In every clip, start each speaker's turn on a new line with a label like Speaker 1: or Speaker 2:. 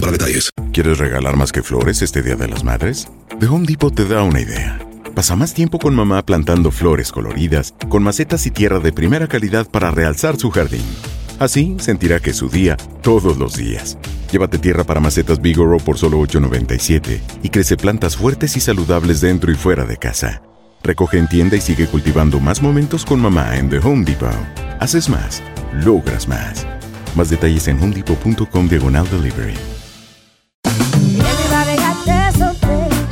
Speaker 1: para detalles.
Speaker 2: ¿Quieres regalar más que flores este Día de las Madres? The Home Depot te da una idea. Pasa más tiempo con mamá plantando flores coloridas, con macetas y tierra de primera calidad para realzar su jardín. Así sentirá que es su día todos los días. Llévate tierra para macetas Bigoro por solo $8.97 y crece plantas fuertes y saludables dentro y fuera de casa. Recoge en tienda y sigue cultivando más momentos con mamá en The Home Depot. Haces más, logras más. Más detalles en homedepot.com diagonal delivery.
Speaker 3: Everybody got their something.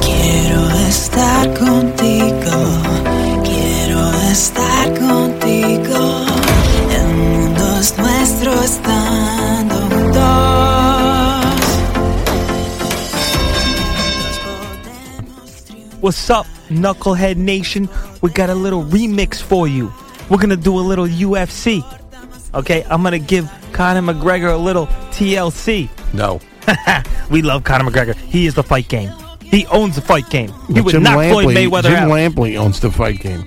Speaker 4: Quiero estar contigo, quiero estar contigo. El mundo es nuestro estando juntos.
Speaker 5: What's up, Knucklehead Nation? We got a little remix for you. We're gonna do a little UFC. Okay, I'm gonna give Conor McGregor a little TLC.
Speaker 6: No.
Speaker 5: We love Conor McGregor. He is the fight game. He owns the fight game. He
Speaker 6: But
Speaker 5: would knock Floyd Mayweather
Speaker 6: Jim
Speaker 5: out.
Speaker 6: Lampley owns the fight game.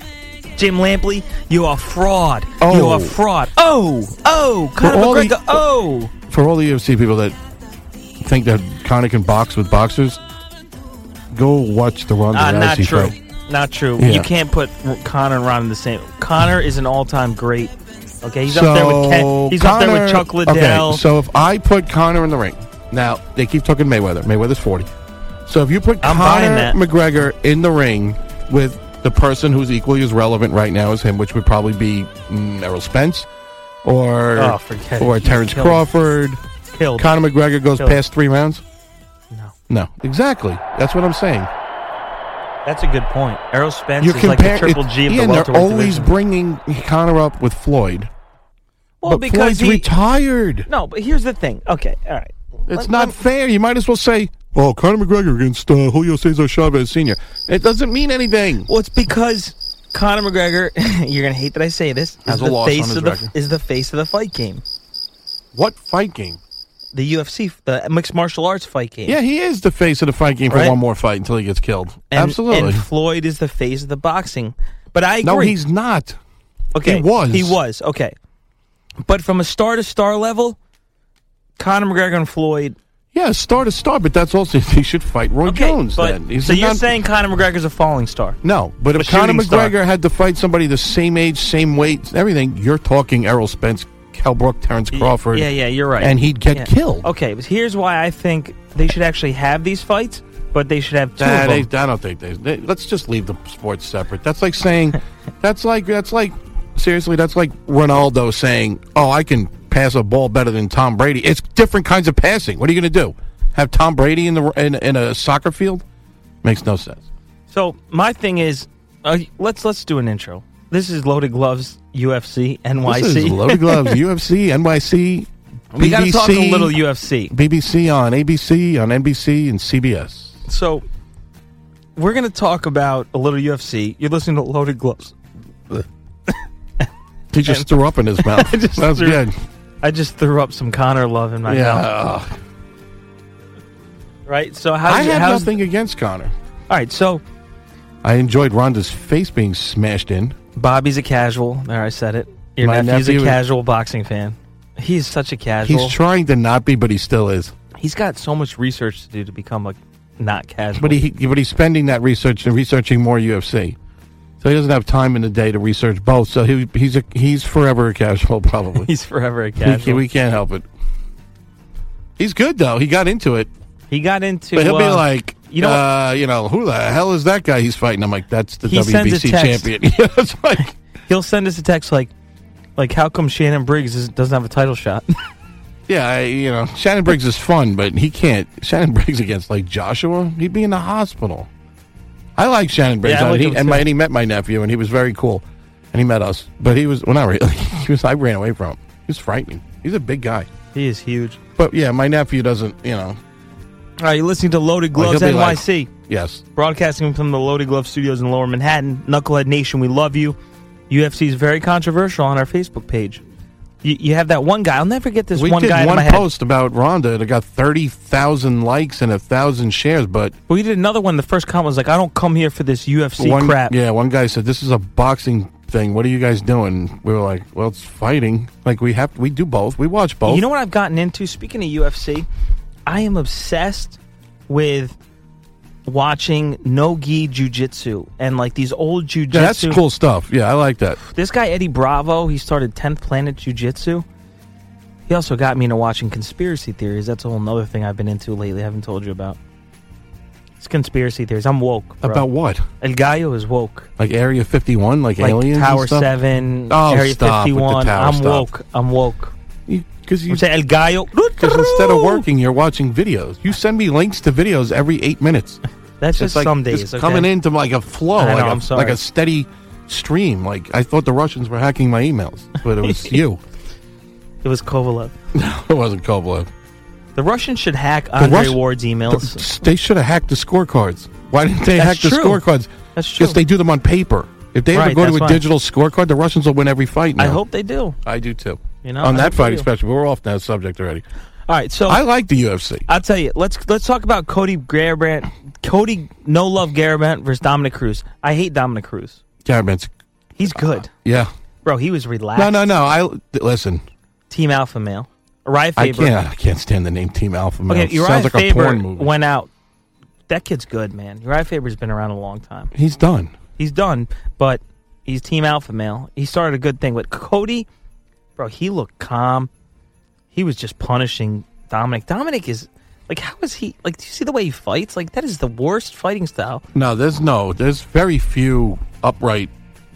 Speaker 5: Jim Lampley, you are fraud.
Speaker 6: Oh.
Speaker 5: You are fraud. Oh, oh, Conor
Speaker 6: all the-
Speaker 5: McGregor. oh,
Speaker 6: For all the UFC people that think that Conor can box with boxers, go watch the Ronda
Speaker 5: Ah,
Speaker 6: Rousey
Speaker 5: not true.
Speaker 6: fight.
Speaker 5: Not true.
Speaker 6: Yeah.
Speaker 5: You can't put Conor and Ron in the same. Conor is an all-time great. Okay, he's
Speaker 6: so
Speaker 5: up there with Ken. He's up there
Speaker 6: Conor-
Speaker 5: with Chuck Liddell.
Speaker 6: Okay, so if I put Conor in the ring, now they keep talking Mayweather. Mayweather's forty. So if you put
Speaker 5: I'm buying
Speaker 6: Conor
Speaker 5: that.
Speaker 6: McGregor in the ring with the person who's equally as relevant right now as him, which would probably be mm, Errol Spence or
Speaker 5: Oh, forget it.
Speaker 6: or
Speaker 5: He's
Speaker 6: Terrence
Speaker 5: killed.
Speaker 6: Crawford.
Speaker 5: killed.
Speaker 6: Conor McGregor goes
Speaker 5: Killed.
Speaker 6: past three rounds.
Speaker 5: No.
Speaker 6: No, exactly. That's what I'm saying.
Speaker 5: That's a good point. Errol Spence
Speaker 6: You're
Speaker 5: is like the
Speaker 6: comparing.
Speaker 5: triple G of
Speaker 6: yeah,
Speaker 5: the
Speaker 6: and
Speaker 5: welterweight
Speaker 6: they're always
Speaker 5: division.
Speaker 6: bringing Conor up with Floyd.
Speaker 5: well,
Speaker 6: but
Speaker 5: because
Speaker 6: Floyd's
Speaker 5: he,
Speaker 6: retired.
Speaker 5: no, but here's the thing. Okay, all right.
Speaker 6: It's
Speaker 5: Let-
Speaker 6: not
Speaker 5: let-
Speaker 6: fair. You might as well say, "Oh, Conor McGregor against uh, Julio Cesar Chavez Sr." It doesn't mean anything.
Speaker 5: Well, it's because Conor McGregor. you're gonna hate that I say this.
Speaker 6: Has
Speaker 5: is
Speaker 6: a
Speaker 5: the
Speaker 6: loss on
Speaker 5: face
Speaker 6: his
Speaker 5: of the
Speaker 6: record.
Speaker 5: is the face of the fight game,
Speaker 6: What fight game?
Speaker 5: the UFC, the mixed martial arts fight game.
Speaker 6: Yeah, he is the face of the fight game for
Speaker 5: Right?
Speaker 6: one more fight until he gets killed.
Speaker 5: and,
Speaker 6: Absolutely.
Speaker 5: And Floyd is the face of the boxing. But I agree.
Speaker 6: no, he's not.
Speaker 5: Okay,
Speaker 6: He was.
Speaker 5: He was. Okay, but from a star to star level, Conor McGregor and Floyd.
Speaker 6: Yeah, star to star, but that's also he should fight Roy
Speaker 5: Okay,
Speaker 6: Jones.
Speaker 5: but
Speaker 6: then He's
Speaker 5: so you're
Speaker 6: not-
Speaker 5: saying Conor McGregor's a falling star?
Speaker 6: no? But
Speaker 5: a
Speaker 6: if Conor
Speaker 5: shooting star.
Speaker 6: McGregor had to fight somebody the same age, same weight, everything, you're talking Errol Spence, Cal Brook, Terrence Crawford.
Speaker 5: Yeah, yeah, you're right.
Speaker 6: And he'd get
Speaker 5: Yeah.
Speaker 6: killed.
Speaker 5: Okay, but here's why I think they should actually have these fights, but they should have two
Speaker 6: Nah,
Speaker 5: of
Speaker 6: they,
Speaker 5: them.
Speaker 6: I don't think they, they- Let's just leave the sports separate. That's like saying, that's like that's like seriously, that's like Ronaldo saying, "Oh, I can pass a ball better than Tom Brady." It's different kinds of passing. What are you going to do? Have Tom Brady in the in, in a soccer field? Makes no sense.
Speaker 5: So my thing is, uh, let's let's do an intro. This is Loaded Gloves UFC NYC.
Speaker 6: This is Loaded Gloves, UFC, NYC,
Speaker 5: we got to talk a
Speaker 6: BBC,
Speaker 5: little UFC.
Speaker 6: BBC on ABC, on NBC, and CBS.
Speaker 5: So we're going to talk about a little UFC. You're listening to Loaded Gloves.
Speaker 6: He just threw up in his mouth.
Speaker 5: I just
Speaker 6: That's
Speaker 5: threw-
Speaker 6: good.
Speaker 5: I just threw up some Connor love in my
Speaker 6: Yeah.
Speaker 5: mouth.
Speaker 6: Ugh.
Speaker 5: right? So how?
Speaker 6: I
Speaker 5: does-
Speaker 6: have
Speaker 5: how's-
Speaker 6: nothing against Connor.
Speaker 5: All right, so
Speaker 6: I enjoyed Rhonda's face being smashed in.
Speaker 5: Bobby's a casual. There, I said it. Your
Speaker 6: My
Speaker 5: nephew's
Speaker 6: nephew
Speaker 5: a
Speaker 6: is-
Speaker 5: casual boxing fan. He's such a casual.
Speaker 6: He's trying to not be, but he still is.
Speaker 5: he's got so much research to do to become a not casual.
Speaker 6: But he, he- but he's spending that research and researching more UFC. So he doesn't have time in the day to research both. So he, he's a, he's forever a casual, probably.
Speaker 5: he's forever a
Speaker 6: we, can,
Speaker 5: casual.
Speaker 6: we can't help it. He's good though. He got into it,
Speaker 5: he got into.
Speaker 6: but he'll be
Speaker 5: uh,
Speaker 6: like,
Speaker 5: you
Speaker 6: you
Speaker 5: know
Speaker 6: know,
Speaker 5: what-
Speaker 6: uh, you know, who the hell is that guy he's fighting? I'm like, that's the
Speaker 5: He sends a
Speaker 6: WBC
Speaker 5: text.
Speaker 6: champion. Yeah, it's like,
Speaker 5: he'll send us a text like, like how come Shannon Briggs is, doesn't have a title shot?
Speaker 6: yeah, I, you know, Shannon Briggs is fun, but he can't. Shannon Briggs against like Joshua, he'd be in the hospital. I like Shannon Briggs,
Speaker 5: I like
Speaker 6: and, he,
Speaker 5: him,
Speaker 6: and my,
Speaker 5: too.
Speaker 6: and he met my nephew, and he was very cool, and he met us, but he was well, not really. he was I ran away from him. He was frightening. He's a big guy,
Speaker 5: he is huge.
Speaker 6: but yeah, my nephew doesn't. You know,
Speaker 5: All right, you're listening to Loaded
Speaker 6: Well,
Speaker 5: Gloves
Speaker 6: he'll be like-
Speaker 5: NYC.
Speaker 6: yes,
Speaker 5: broadcasting from the Loaded Glove Studios in Lower Manhattan. Knucklehead Nation, we love you. UFC is very controversial on our Facebook page. You, you have that one guy. I'll never get this
Speaker 6: we
Speaker 5: one
Speaker 6: did
Speaker 5: guy in
Speaker 6: one
Speaker 5: my
Speaker 6: post about Rhonda that got thirty thousand likes and a thousand shares, but
Speaker 5: head. We did another one. The first comment was like, "I don't come here for this UFC
Speaker 6: one
Speaker 5: crap."
Speaker 6: yeah, one guy said this is a boxing thing. What are you guys doing? We were like, well, it's fighting. Like we have, we do both. We watch both.
Speaker 5: You know what I've gotten into? Speaking of UFC, I am obsessed with watching no gi jujitsu and like these old jujitsu.
Speaker 6: Yeah, that's cool stuff. Yeah, I like that.
Speaker 5: This guy Eddie Bravo, he started 10th Planet Jiu Jitsu. He also got me into watching conspiracy theories. That's a whole nother thing I've been into lately. I haven't told you about. It's conspiracy theories. I'm woke. Bro.
Speaker 6: About what?
Speaker 5: El Gallo is woke.
Speaker 6: Like Area Fifty One, like,
Speaker 5: Like
Speaker 6: aliens,
Speaker 5: Tower
Speaker 6: and stuff?
Speaker 5: Seven,
Speaker 6: Oh,
Speaker 5: Area
Speaker 6: stop with the
Speaker 5: 51.
Speaker 6: tower
Speaker 5: I'm
Speaker 6: stuff.
Speaker 5: woke. I'm woke.
Speaker 6: Because you,
Speaker 5: You say El Gallo.
Speaker 6: because instead of working, you're watching videos. You send me links to videos every eight minutes.
Speaker 5: that's just
Speaker 6: It's like
Speaker 5: some
Speaker 6: just
Speaker 5: days. okay?
Speaker 6: coming into like a flow,
Speaker 5: I know,
Speaker 6: like, a,
Speaker 5: I'm sorry.
Speaker 6: like a steady stream. Like I thought the Russians were hacking my emails, but it was you.
Speaker 5: It was Kovalev.
Speaker 6: It wasn't Kovalev.
Speaker 5: The Russians should hack Andre
Speaker 6: Russian-
Speaker 5: Ward's emails.
Speaker 6: The- they should have hacked the scorecards. Why didn't they
Speaker 5: That's
Speaker 6: hack the
Speaker 5: true.
Speaker 6: scorecards?
Speaker 5: That's true.
Speaker 6: Because they do them on paper. If they
Speaker 5: Right,
Speaker 6: ever go
Speaker 5: that's
Speaker 6: to a
Speaker 5: why.
Speaker 6: digital scorecard, the Russians will win every fight. Now.
Speaker 5: I hope they do.
Speaker 6: I do too.
Speaker 5: You know,
Speaker 6: on
Speaker 5: I hope
Speaker 6: that
Speaker 5: they
Speaker 6: fight
Speaker 5: do. Oh.
Speaker 6: especially, we're off that subject already.
Speaker 5: All right. So
Speaker 6: I like the UFC.
Speaker 5: I'll tell you. Let's let's talk about Cody Garbrandt. Cody No Love Garbrandt versus Dominic Cruz. I hate Dominic Cruz.
Speaker 6: Garabans.
Speaker 5: He's good,
Speaker 6: Yeah.
Speaker 5: bro. He was relaxed.
Speaker 6: No, no, no. I th- listen.
Speaker 5: Team Alpha Male. Uriah
Speaker 6: I
Speaker 5: Faber.
Speaker 6: can't. I can't stand the name Team Alpha Male.
Speaker 5: Okay,
Speaker 6: It
Speaker 5: Uriah
Speaker 6: Sounds like
Speaker 5: Faber
Speaker 6: a porn movie.
Speaker 5: went out. That kid's good, man. Uriah Faber's been around a long time.
Speaker 6: He's done.
Speaker 5: He's done, but he's Team Alpha Male. He started a good thing with Cody. Bro, he looked calm. He was just punishing Dominic. Dominic is like, how is he? Like, do you see the way he fights? Like, that is the worst fighting style.
Speaker 6: No, there's no. There's very few upright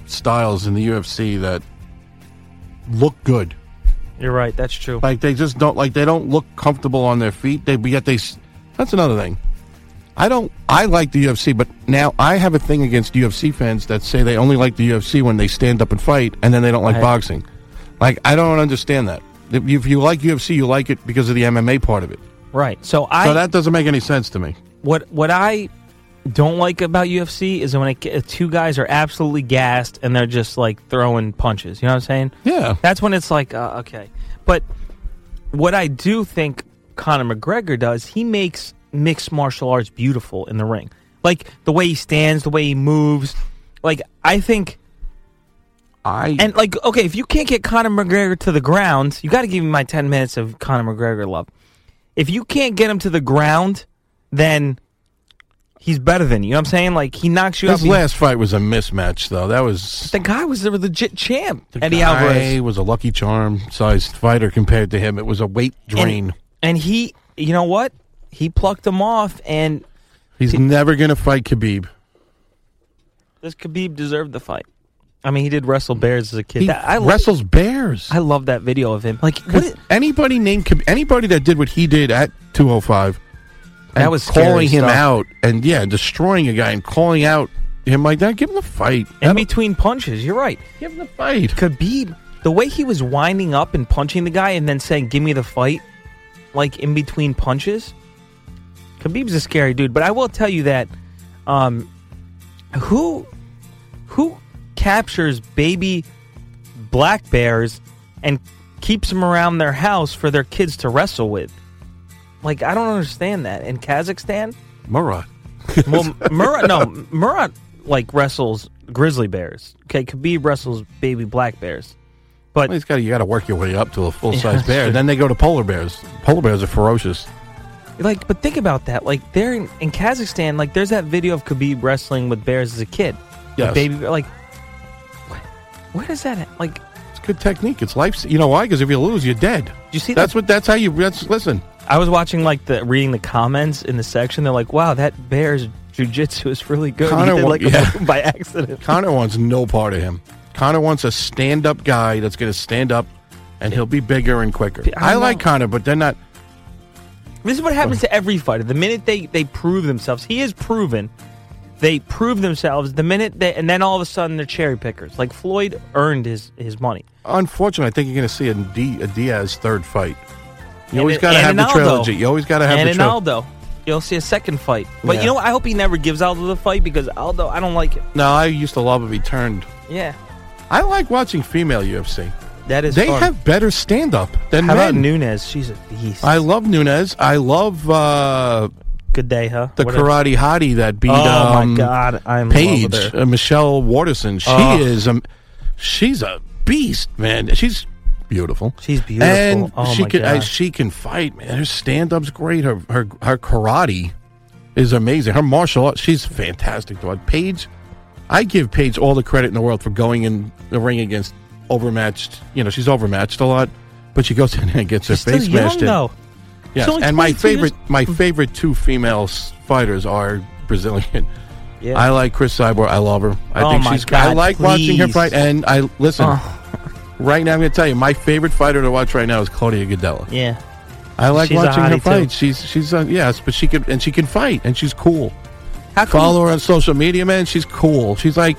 Speaker 6: styles in the UFC that look good.
Speaker 5: You're right. That's true.
Speaker 6: Like they just don't like they don't look comfortable on their feet. They but yet they. s- That's another thing. I don't. I like the UFC, but now I have a thing against UFC fans that say they only like the UFC when they stand up and fight, and then they don't like
Speaker 5: I-
Speaker 6: boxing. Like I don't understand that. If you, if you like UFC, you like it because of the MMA part of it.
Speaker 5: Right. So I
Speaker 6: so that doesn't make any sense to me.
Speaker 5: what what I don't like about UFC is when it, ge- two guys are absolutely gassed and they're just like throwing punches. You know what I'm saying?
Speaker 6: Yeah.
Speaker 5: That's when it's like uh, okay. But what I do think Conor McGregor does, he makes mixed martial arts beautiful in the ring. Like the way he stands, the way he moves. Like I think
Speaker 6: I
Speaker 5: and like, okay, if you can't get Conor McGregor to the ground, you got to give me my ten minutes of Conor McGregor love. If you can't get him to the ground, then he's better than you. You know what I'm saying? Like he knocks you
Speaker 6: this
Speaker 5: out.
Speaker 6: last fight was a mismatch, though. That was
Speaker 5: the guy was the legit champ,
Speaker 6: the
Speaker 5: Eddie
Speaker 6: guy
Speaker 5: Alvarez.
Speaker 6: was a lucky charm sized fighter compared to him. It was a weight drain.
Speaker 5: And, and he, you know what? He plucked him off, and
Speaker 6: He's never going to fight Khabib.
Speaker 5: this Khabib deserved the fight. I mean, he did wrestle bears as a kid.
Speaker 6: He
Speaker 5: That- I
Speaker 6: wrestles bears.
Speaker 5: I love that video of him. Like what? i-
Speaker 6: anybody named Khabib, anybody that did what he did at 205 and
Speaker 5: That was scary
Speaker 6: calling him
Speaker 5: stuff.
Speaker 6: out and yeah, destroying a guy and calling out him like that. Give him the fight.
Speaker 5: in
Speaker 6: That'll-
Speaker 5: between punches, you're right.
Speaker 6: give him the fight.
Speaker 5: Khabib, the way he was winding up and punching the guy and then saying, give me the fight, like in between punches, Khabib's a scary dude. But I will tell you that um, who who captures baby black bears and keeps them around their house for their kids to wrestle with? Like I don't understand that in Kazakhstan.
Speaker 6: Murat.
Speaker 5: Well, Murat, no, Murat like wrestles grizzly bears. Okay, Khabib wrestles baby black bears.
Speaker 6: Well, he's got you got to work your way up to a full size bear. Then they go to polar bears. Polar bears are ferocious.
Speaker 5: Like, but think about that. Like, they're in, in Kazakhstan. Like, there's that video of Khabib wrestling with bears as a kid. The
Speaker 6: Yes.
Speaker 5: baby. bear, Like, wh- where does that? Like,
Speaker 6: It's good technique. It's life. You know why? Because if you lose, you're dead.
Speaker 5: you see
Speaker 6: That's
Speaker 5: that?
Speaker 6: what. That's how you. That's listen.
Speaker 5: I was watching like the reading the comments in the section. They're like, "Wow, that bear's jujitsu is really good." He
Speaker 6: Conor
Speaker 5: did,
Speaker 6: wa-
Speaker 5: like
Speaker 6: yeah.
Speaker 5: by accident.
Speaker 6: Connor wants no part of him. Connor wants a stand up guy that's going to stand up, and he'll be bigger and quicker.
Speaker 5: P- I
Speaker 6: I like
Speaker 5: know.
Speaker 6: Connor, but they're not.
Speaker 5: This is what happens to every fighter. The minute they they prove themselves, he is proven. They prove themselves the minute they, and then all of a sudden they're cherry pickers. Like Floyd earned his his money.
Speaker 6: Unfortunately, I think you're going to see a, D, a Diaz third fight. You
Speaker 5: And-
Speaker 6: always got to
Speaker 5: and
Speaker 6: have the
Speaker 5: Ronaldo.
Speaker 6: trilogy. You always got to have
Speaker 5: and
Speaker 6: the
Speaker 5: in
Speaker 6: trilogy.
Speaker 5: Aldo, you'll see a second fight. But
Speaker 6: Yeah.
Speaker 5: you know, what? I hope he never gives Aldo the fight because Aldo, I don't like it.
Speaker 6: No, I used to love if he turned.
Speaker 5: Yeah,
Speaker 6: I like watching female UFC.
Speaker 5: that is.
Speaker 6: they
Speaker 5: fun.
Speaker 6: have better stand up than
Speaker 5: How about
Speaker 6: men.
Speaker 5: Nunez? She's a beast.
Speaker 6: I love Nunez. I love uh,
Speaker 5: Good day, huh?
Speaker 6: the
Speaker 5: What a-
Speaker 6: karate hottie that beat.
Speaker 5: Oh
Speaker 6: um,
Speaker 5: my God, I'm in love with
Speaker 6: Paige,
Speaker 5: her.
Speaker 6: uh, Michelle Warderson. She
Speaker 5: Oh.
Speaker 6: is um, she's a beast, man. She's beautiful.
Speaker 5: She's beautiful.
Speaker 6: And
Speaker 5: Oh,
Speaker 6: she
Speaker 5: my
Speaker 6: can I-
Speaker 5: God.
Speaker 6: she can fight, man. Her stand up's great. Her her her karate is amazing. Her martial arts, she's fantastic. To watch. Paige, I give Paige all the credit in the world for going in the ring against overmatched. You know, she's overmatched a lot, but she goes in there and gets her
Speaker 5: She's still
Speaker 6: face
Speaker 5: young
Speaker 6: smashed in.
Speaker 5: though.
Speaker 6: Yes,
Speaker 5: She's only
Speaker 6: and my
Speaker 5: 22 years- Mm.
Speaker 6: favorite, my favorite two female s- fighters are Brazilian.
Speaker 5: Yeah.
Speaker 6: I like Chris Cyborg. I love her. I
Speaker 5: Oh
Speaker 6: think
Speaker 5: my
Speaker 6: she's. I
Speaker 5: God,
Speaker 6: like watching her
Speaker 5: please.
Speaker 6: fight. And I listen.
Speaker 5: Oh.
Speaker 6: Right now, I'm going to tell you my favorite fighter to watch right now is Claudia Gadella.
Speaker 5: yeah.
Speaker 6: I like
Speaker 5: She's a
Speaker 6: watching her
Speaker 5: hottie, too.
Speaker 6: fight. She's she's uh, yes, but she can and she can fight and she's cool.
Speaker 5: How come
Speaker 6: Follow her on social media, man. She's cool. She's like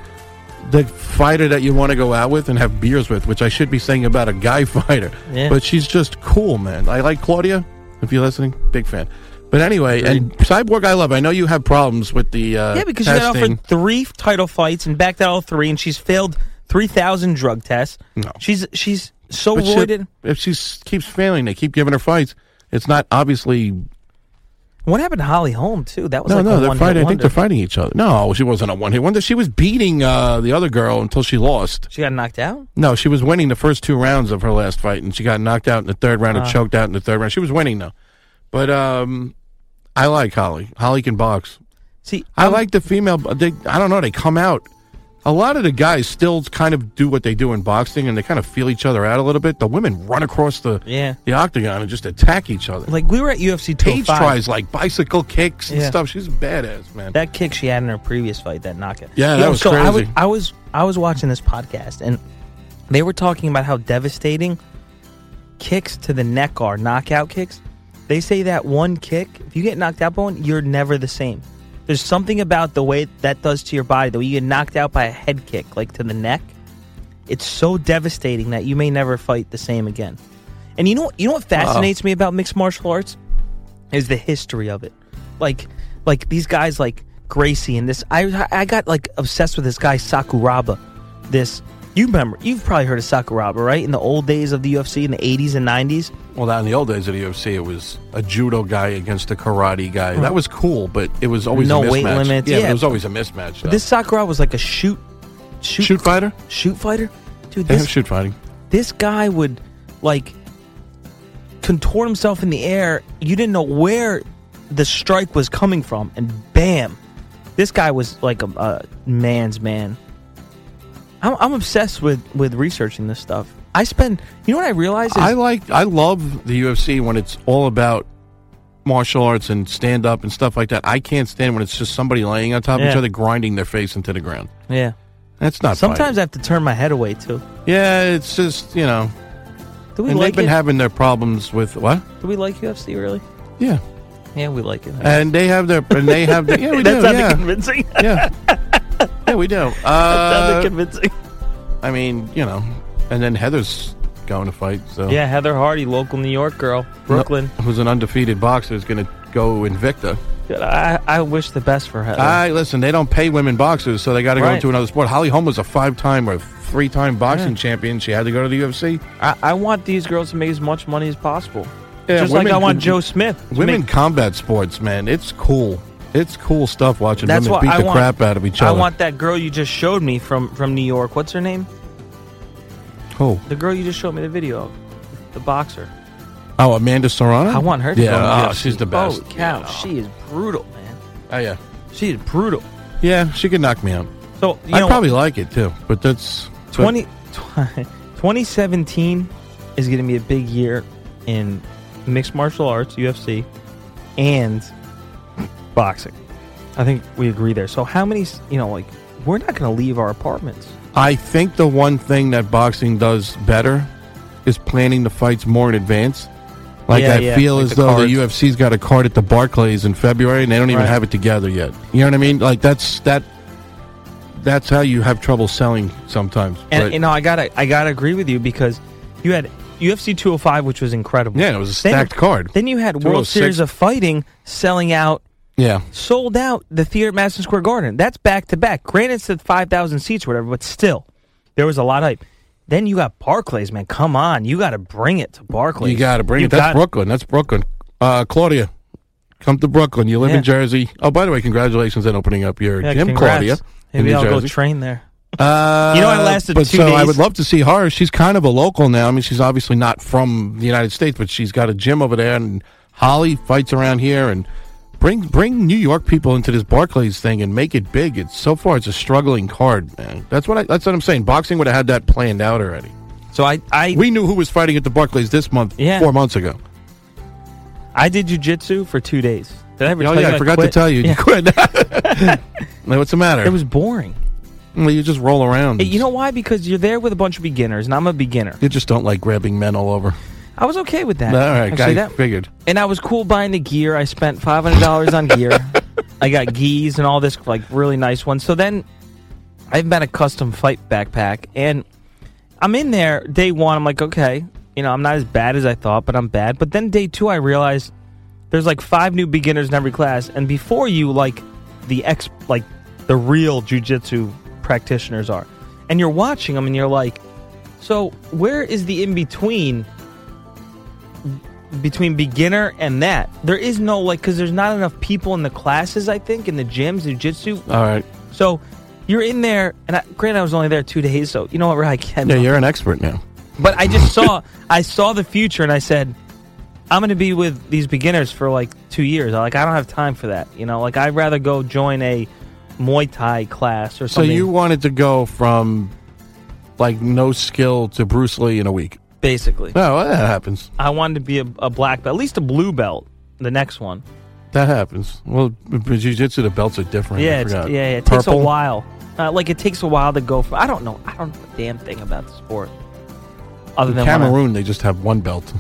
Speaker 6: the fighter that you want to go out with and have beers with, which I should be saying about a guy fighter.
Speaker 5: Yeah.
Speaker 6: But she's just cool, man. I like Claudia. If you're listening, big fan. But anyway, and Cyborg, I love. I know you have problems with the uh,
Speaker 5: Yeah, because
Speaker 6: testing.
Speaker 5: she got offered three title fights and backed out all three, and she's failed three thousand drug tests.
Speaker 6: No.
Speaker 5: she's she's so
Speaker 6: But she-
Speaker 5: roided.
Speaker 6: if she s- keeps failing, they keep giving her fights. It's not obviously.
Speaker 5: What happened to Holly Holm too? That was
Speaker 6: No,
Speaker 5: like
Speaker 6: no,
Speaker 5: a
Speaker 6: they're
Speaker 5: one
Speaker 6: fighting. I think
Speaker 5: wonder.
Speaker 6: they're fighting each other. No, she wasn't a one hit wonder. She was beating uh, the other girl until she lost.
Speaker 5: She got knocked out.
Speaker 6: No, she was winning the first two rounds of her last fight, and she got knocked out in the third round and
Speaker 5: Ah.
Speaker 6: choked out in the third round. She was winning though. But um, I like Holly. Holly can box.
Speaker 5: See,
Speaker 6: I like the female. They, I don't know. They come out. A lot of the guys still kind of do what they do in boxing, and they kind of feel each other out a little bit. The women run across the
Speaker 5: Yeah.
Speaker 6: the octagon and just attack each other.
Speaker 5: like we were at UFC
Speaker 6: Paige
Speaker 5: 205.
Speaker 6: tries like bicycle kicks and
Speaker 5: Yeah.
Speaker 6: stuff. She's a badass, man.
Speaker 5: that kick she had in her previous fight, that knockout.
Speaker 6: Yeah, that was
Speaker 5: so I was,
Speaker 6: crazy.
Speaker 5: I was I was watching this podcast and they were talking about how devastating kicks to the neck are, knockout kicks. They say that one kick, if you get knocked out by one, you're never the same. There's something about the way that does to your body, the way you get knocked out by a head kick, like to the neck. It's so devastating that you may never fight the same again. And you know, you know what fascinates me about mixed martial arts is the history of it. Like, like these guys like Gracie and this. I I got like obsessed with this guy Sakuraba. This you remember? You've probably heard of Sakuraba, right? In the old days of the UFC, in the '80s and '90s.
Speaker 6: well, now in the old days of the UFC, it was a judo guy against a karate guy. That was cool, but it was always
Speaker 5: No
Speaker 6: a mismatch.
Speaker 5: weight limits,
Speaker 6: Yeah, but
Speaker 5: yeah.
Speaker 6: it was always a mismatch. though.
Speaker 5: This Sakuraba was like a shoot, shoot,
Speaker 6: shoot fighter.
Speaker 5: shoot fighter. Dude,
Speaker 6: They
Speaker 5: this
Speaker 6: have shoot fighting.
Speaker 5: this guy would like contort himself in the air. You didn't know where the strike was coming from, and bam, this guy was like a, a man's man. I'm, I'm obsessed with with researching this stuff. I spend, you know what I realize is
Speaker 6: I like I love the UFC when it's all about martial arts and stand up and stuff like that. I can't stand when it's just somebody laying on top of each
Speaker 5: Yeah.
Speaker 6: other grinding their face into the ground.
Speaker 5: yeah.
Speaker 6: That's not
Speaker 5: Sometimes I have to turn my head away too.
Speaker 6: fighting. yeah, it's just you know,
Speaker 5: Do we
Speaker 6: and
Speaker 5: like
Speaker 6: they've been
Speaker 5: it?
Speaker 6: having their problems with what?
Speaker 5: Do we like UFC really?
Speaker 6: Yeah,
Speaker 5: Yeah, we like it.
Speaker 6: and they have their and they have their, yeah we
Speaker 5: that
Speaker 6: do
Speaker 5: sounded
Speaker 6: yeah
Speaker 5: convincing.
Speaker 6: yeah yeah we do.
Speaker 5: that sounded
Speaker 6: Uh,
Speaker 5: convincing.
Speaker 6: I mean you know, and then Heather's going to fight so
Speaker 5: Yeah, Heather Hardy, local New York girl, Brooklyn.
Speaker 6: who's an undefeated boxer, is going to go Invicta.
Speaker 5: Dude, I, I wish the best for Heather.
Speaker 6: I listen. They don't pay women boxers, so they got to go
Speaker 5: Uh-huh. Right.
Speaker 6: into another sport. Holly Holm was a five-time or three-time boxing champion. She had to go to the UFC.
Speaker 5: I, I want these girls to make as much money as possible.
Speaker 6: Yeah,
Speaker 5: Just like
Speaker 6: women-
Speaker 5: I want Joe Smith. to
Speaker 6: Women
Speaker 5: make-
Speaker 6: combat sports, man. It's cool. It's cool stuff watching
Speaker 5: that's
Speaker 6: women
Speaker 5: what
Speaker 6: beat
Speaker 5: I
Speaker 6: the
Speaker 5: want.
Speaker 6: crap out of each
Speaker 5: I
Speaker 6: other.
Speaker 5: want that girl you just showed me from from New York. What's her name?
Speaker 6: oh,
Speaker 5: The girl you just showed me the video of, the boxer.
Speaker 6: oh, Amanda Serrano.
Speaker 5: I want her. To go in
Speaker 6: Yeah, oh,
Speaker 5: UFC.
Speaker 6: she's the best.
Speaker 5: Holy cow, she is brutal, man.
Speaker 6: Oh yeah,
Speaker 5: She is brutal.
Speaker 6: yeah. She could knock me out.
Speaker 5: So you
Speaker 6: I'd
Speaker 5: know,
Speaker 6: probably like it too, but that's but
Speaker 5: 20, 2017 is going to be a big year in mixed martial arts, UFC, and boxing. I think we agree there. So how many? s- You know, like we're not going to leave our apartments.
Speaker 6: I think the one thing that boxing does better is planning the fights more in advance. Like
Speaker 5: Yeah,
Speaker 6: I
Speaker 5: yeah,
Speaker 6: feel
Speaker 5: like
Speaker 6: as
Speaker 5: the
Speaker 6: though
Speaker 5: cards.
Speaker 6: the UFC's got a card at the Barclays in February and they don't even
Speaker 5: Right.
Speaker 6: have it together yet. You know what I mean? Like that's that that's how you have trouble selling sometimes.
Speaker 5: And
Speaker 6: but-
Speaker 5: you know, I gotta I gotta agree with you because you had UFC 205, which was incredible.
Speaker 6: yeah, it was a
Speaker 5: Then-
Speaker 6: stacked card.
Speaker 5: Then you had World
Speaker 6: 206.
Speaker 5: Series of Fighting selling out,
Speaker 6: yeah.
Speaker 5: sold out the theater at Madison Square Garden. That's back to back. Granted, it's at 5,000 seats or whatever, but still, there was a lot of hype. Then you got Barclays, man. Come on. You got to bring it to Barclays.
Speaker 6: You got to bring it. That's
Speaker 5: got-
Speaker 6: Brooklyn. That's Brooklyn. Uh, Claudia, come to Brooklyn. You live
Speaker 5: Yeah.
Speaker 6: in Jersey. Oh, by the way, congratulations on opening up your
Speaker 5: Yeah,
Speaker 6: gym,
Speaker 5: congrats.
Speaker 6: Claudia. in
Speaker 5: Maybe
Speaker 6: New
Speaker 5: I'll go
Speaker 6: Jersey.
Speaker 5: train there.
Speaker 6: Uh,
Speaker 5: You know, I lasted
Speaker 6: but
Speaker 5: two
Speaker 6: so I
Speaker 5: days.
Speaker 6: would love to see her. She's kind of a local now. I mean, she's obviously not from the United States, but she's got a gym over there, and Holly fights around here. And bring bring New York people into this Barclays thing and make it big. It's so far it's a struggling card, man. That's what I, that's what I'm saying. Boxing would have had that planned out already.
Speaker 5: So I, I,
Speaker 6: We knew who was fighting at the Barclays this month,
Speaker 5: Yeah.
Speaker 6: four months ago.
Speaker 5: I did jujitsu for two days. Did I ever
Speaker 6: Oh
Speaker 5: tell
Speaker 6: yeah,
Speaker 5: you
Speaker 6: I forgot
Speaker 5: quit?
Speaker 6: to tell you.
Speaker 5: Yeah.
Speaker 6: You quit. Now, What's the matter?
Speaker 5: It was boring.
Speaker 6: well, you just roll around.
Speaker 5: Hey, you know why? Because you're there with a bunch of beginners, and I'm a beginner.
Speaker 6: you just don't like grabbing men all over.
Speaker 5: I was okay with that.
Speaker 6: All right,
Speaker 5: Actually,
Speaker 6: guy
Speaker 5: that-
Speaker 6: figured.
Speaker 5: and I was cool buying the gear. I spent five hundred dollars on gear. I got geese and all this like really nice ones. So then I've got a custom fight backpack, and I'm in there day one. I'm like, okay, you know, I'm not as bad as I thought, but I'm bad. But then day two, I realized there's like five new beginners in every class, and before you, like the ex, like the real jujitsu practitioners are, and you're watching them, and you're like, so where is the in between? between beginner and that. There is no like because there's not enough people in the classes. I think in the gyms, jujitsu.
Speaker 6: All right.
Speaker 5: So you're in there, and I, granted, I was only there two days, so you know what, right? I can.
Speaker 6: Yeah, you're an expert now.
Speaker 5: But I just saw, I saw the future, and I said, I'm going to be with these beginners for like two years. Like I don't have time for that. You know, like I'd rather go join a Muay Thai class or
Speaker 6: So
Speaker 5: something.
Speaker 6: you wanted to go from like no skill to Bruce Lee in a week.
Speaker 5: basically,
Speaker 6: Oh, well, that happens.
Speaker 5: I wanted to be a, a black belt, at least a blue belt. The next one,
Speaker 6: That happens. Well, with jiu-jitsu, the belts are different. I
Speaker 5: yeah, it's, yeah,
Speaker 6: forgot.
Speaker 5: yeah, it takes a
Speaker 6: Purple?
Speaker 5: while. Uh, like it takes a while to go from. I don't know. I don't know a damn thing about the sport. Other
Speaker 6: In
Speaker 5: than when I-
Speaker 6: Cameroon, they just have one belt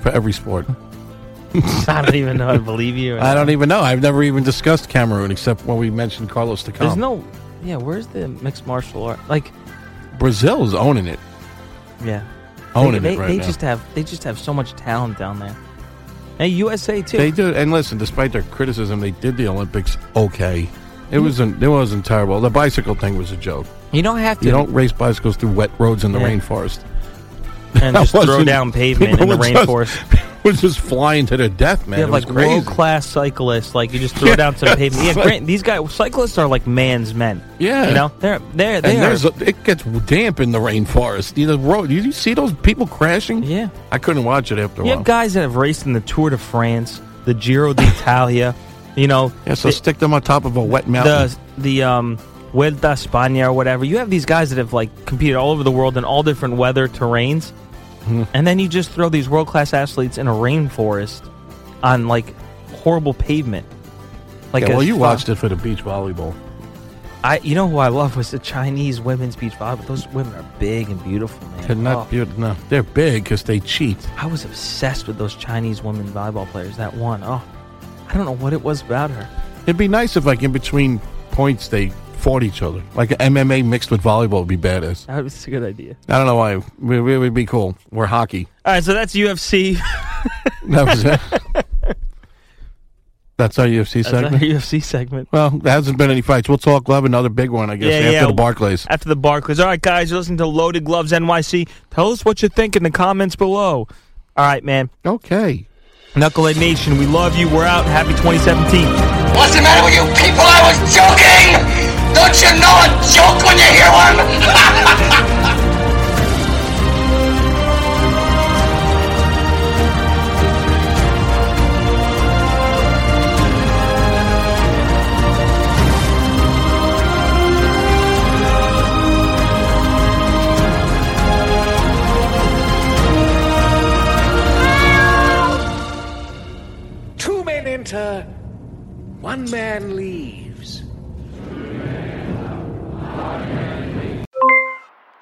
Speaker 6: for every sport.
Speaker 5: I don't even know how to believe you.
Speaker 6: I don't even know. I've never even discussed Cameroon except when we mentioned Carlos Takam.
Speaker 5: There's no. Yeah, where's the mixed martial art? Like,
Speaker 6: Brazil's owning it.
Speaker 5: yeah,
Speaker 6: Owning
Speaker 5: they,
Speaker 6: it
Speaker 5: they,
Speaker 6: right
Speaker 5: they
Speaker 6: now.
Speaker 5: just have they just have so much talent down there. And USA too.
Speaker 6: They do, and listen. Despite their criticism, they did the Olympics okay.
Speaker 5: Mm-hmm.
Speaker 6: It wasn't. It wasn't terrible. The bicycle thing was a joke.
Speaker 5: you don't have to.
Speaker 6: You don't race bicycles through wet roads in the
Speaker 5: Yeah.
Speaker 6: rainforest.
Speaker 5: and just
Speaker 6: That
Speaker 5: throw
Speaker 6: wasn't-
Speaker 5: down pavement
Speaker 6: people
Speaker 5: in the
Speaker 6: were just-
Speaker 5: rainforest.
Speaker 6: We're just flying to their death, man.
Speaker 5: you
Speaker 6: It
Speaker 5: have
Speaker 6: was
Speaker 5: like
Speaker 6: crazy.
Speaker 5: world class cyclists. Like you just throw down some pavement. Yeah,
Speaker 6: it's like-
Speaker 5: grant, these guys cyclists are like man's men.
Speaker 6: Yeah.
Speaker 5: you know they're they're
Speaker 6: And
Speaker 5: they are.
Speaker 6: there's a, it gets damp in the rainforest. You know, road. You, you see those people crashing?
Speaker 5: Yeah.
Speaker 6: I couldn't watch it after a
Speaker 5: You
Speaker 6: while.
Speaker 5: have guys that have raced in the Tour de France, the Giro d'Italia, you know,
Speaker 6: yeah, so
Speaker 5: the,
Speaker 6: stick them on top of a wet mountain.
Speaker 5: the the um Vuelta a España or whatever. You have these guys that have like competed all over the world in all different weather terrains,
Speaker 6: Hmm.
Speaker 5: and then you just throw these world class athletes in a rainforest on like horrible pavement. Like
Speaker 6: yeah,
Speaker 5: a
Speaker 6: well, you
Speaker 5: fu-
Speaker 6: watched it for the beach volleyball.
Speaker 5: I you know who I love was the Chinese women's beach volleyball. Those women are big and beautiful, man.
Speaker 6: They're
Speaker 5: Oh,
Speaker 6: not beautiful. No, they're big because they cheat.
Speaker 5: I was obsessed with those Chinese women volleyball players. That one, oh, I don't know what it was about her.
Speaker 6: It'd be nice if, like, in between points, they fought each other. Like MMA mixed with volleyball would be badass.
Speaker 5: That was a good idea.
Speaker 6: I don't know why. We, we would be cool. We're hockey.
Speaker 5: All right, so that's UFC.
Speaker 6: That was it. That's our UFC
Speaker 5: That's our
Speaker 6: segment.
Speaker 5: UFC segment.
Speaker 6: Well, there hasn't been any fights. We'll talk. We'll have another big one, I guess,
Speaker 5: Yeah,
Speaker 6: after
Speaker 5: yeah.
Speaker 6: the Barclays.
Speaker 5: After the Barclays. All right, guys, you're listening to Loaded Gloves NYC. Tell us what you think in the comments below. All right, man.
Speaker 6: Okay.
Speaker 5: Knucklehead Nation, we love you. We're out. Happy 2017.
Speaker 7: What's the matter with you people? I was joking! Don't you know a joke when you hear one?
Speaker 8: Two men enter, one man leaves.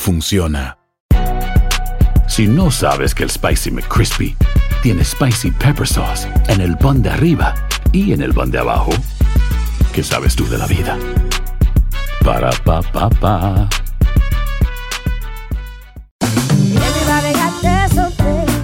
Speaker 1: funciona.
Speaker 2: Si no sabes que el Spicy McCrispy tiene Spicy Pepper Sauce en el pan de arriba y en el pan de abajo, ¿qué sabes tú de la vida? Para, pa, pa, pa.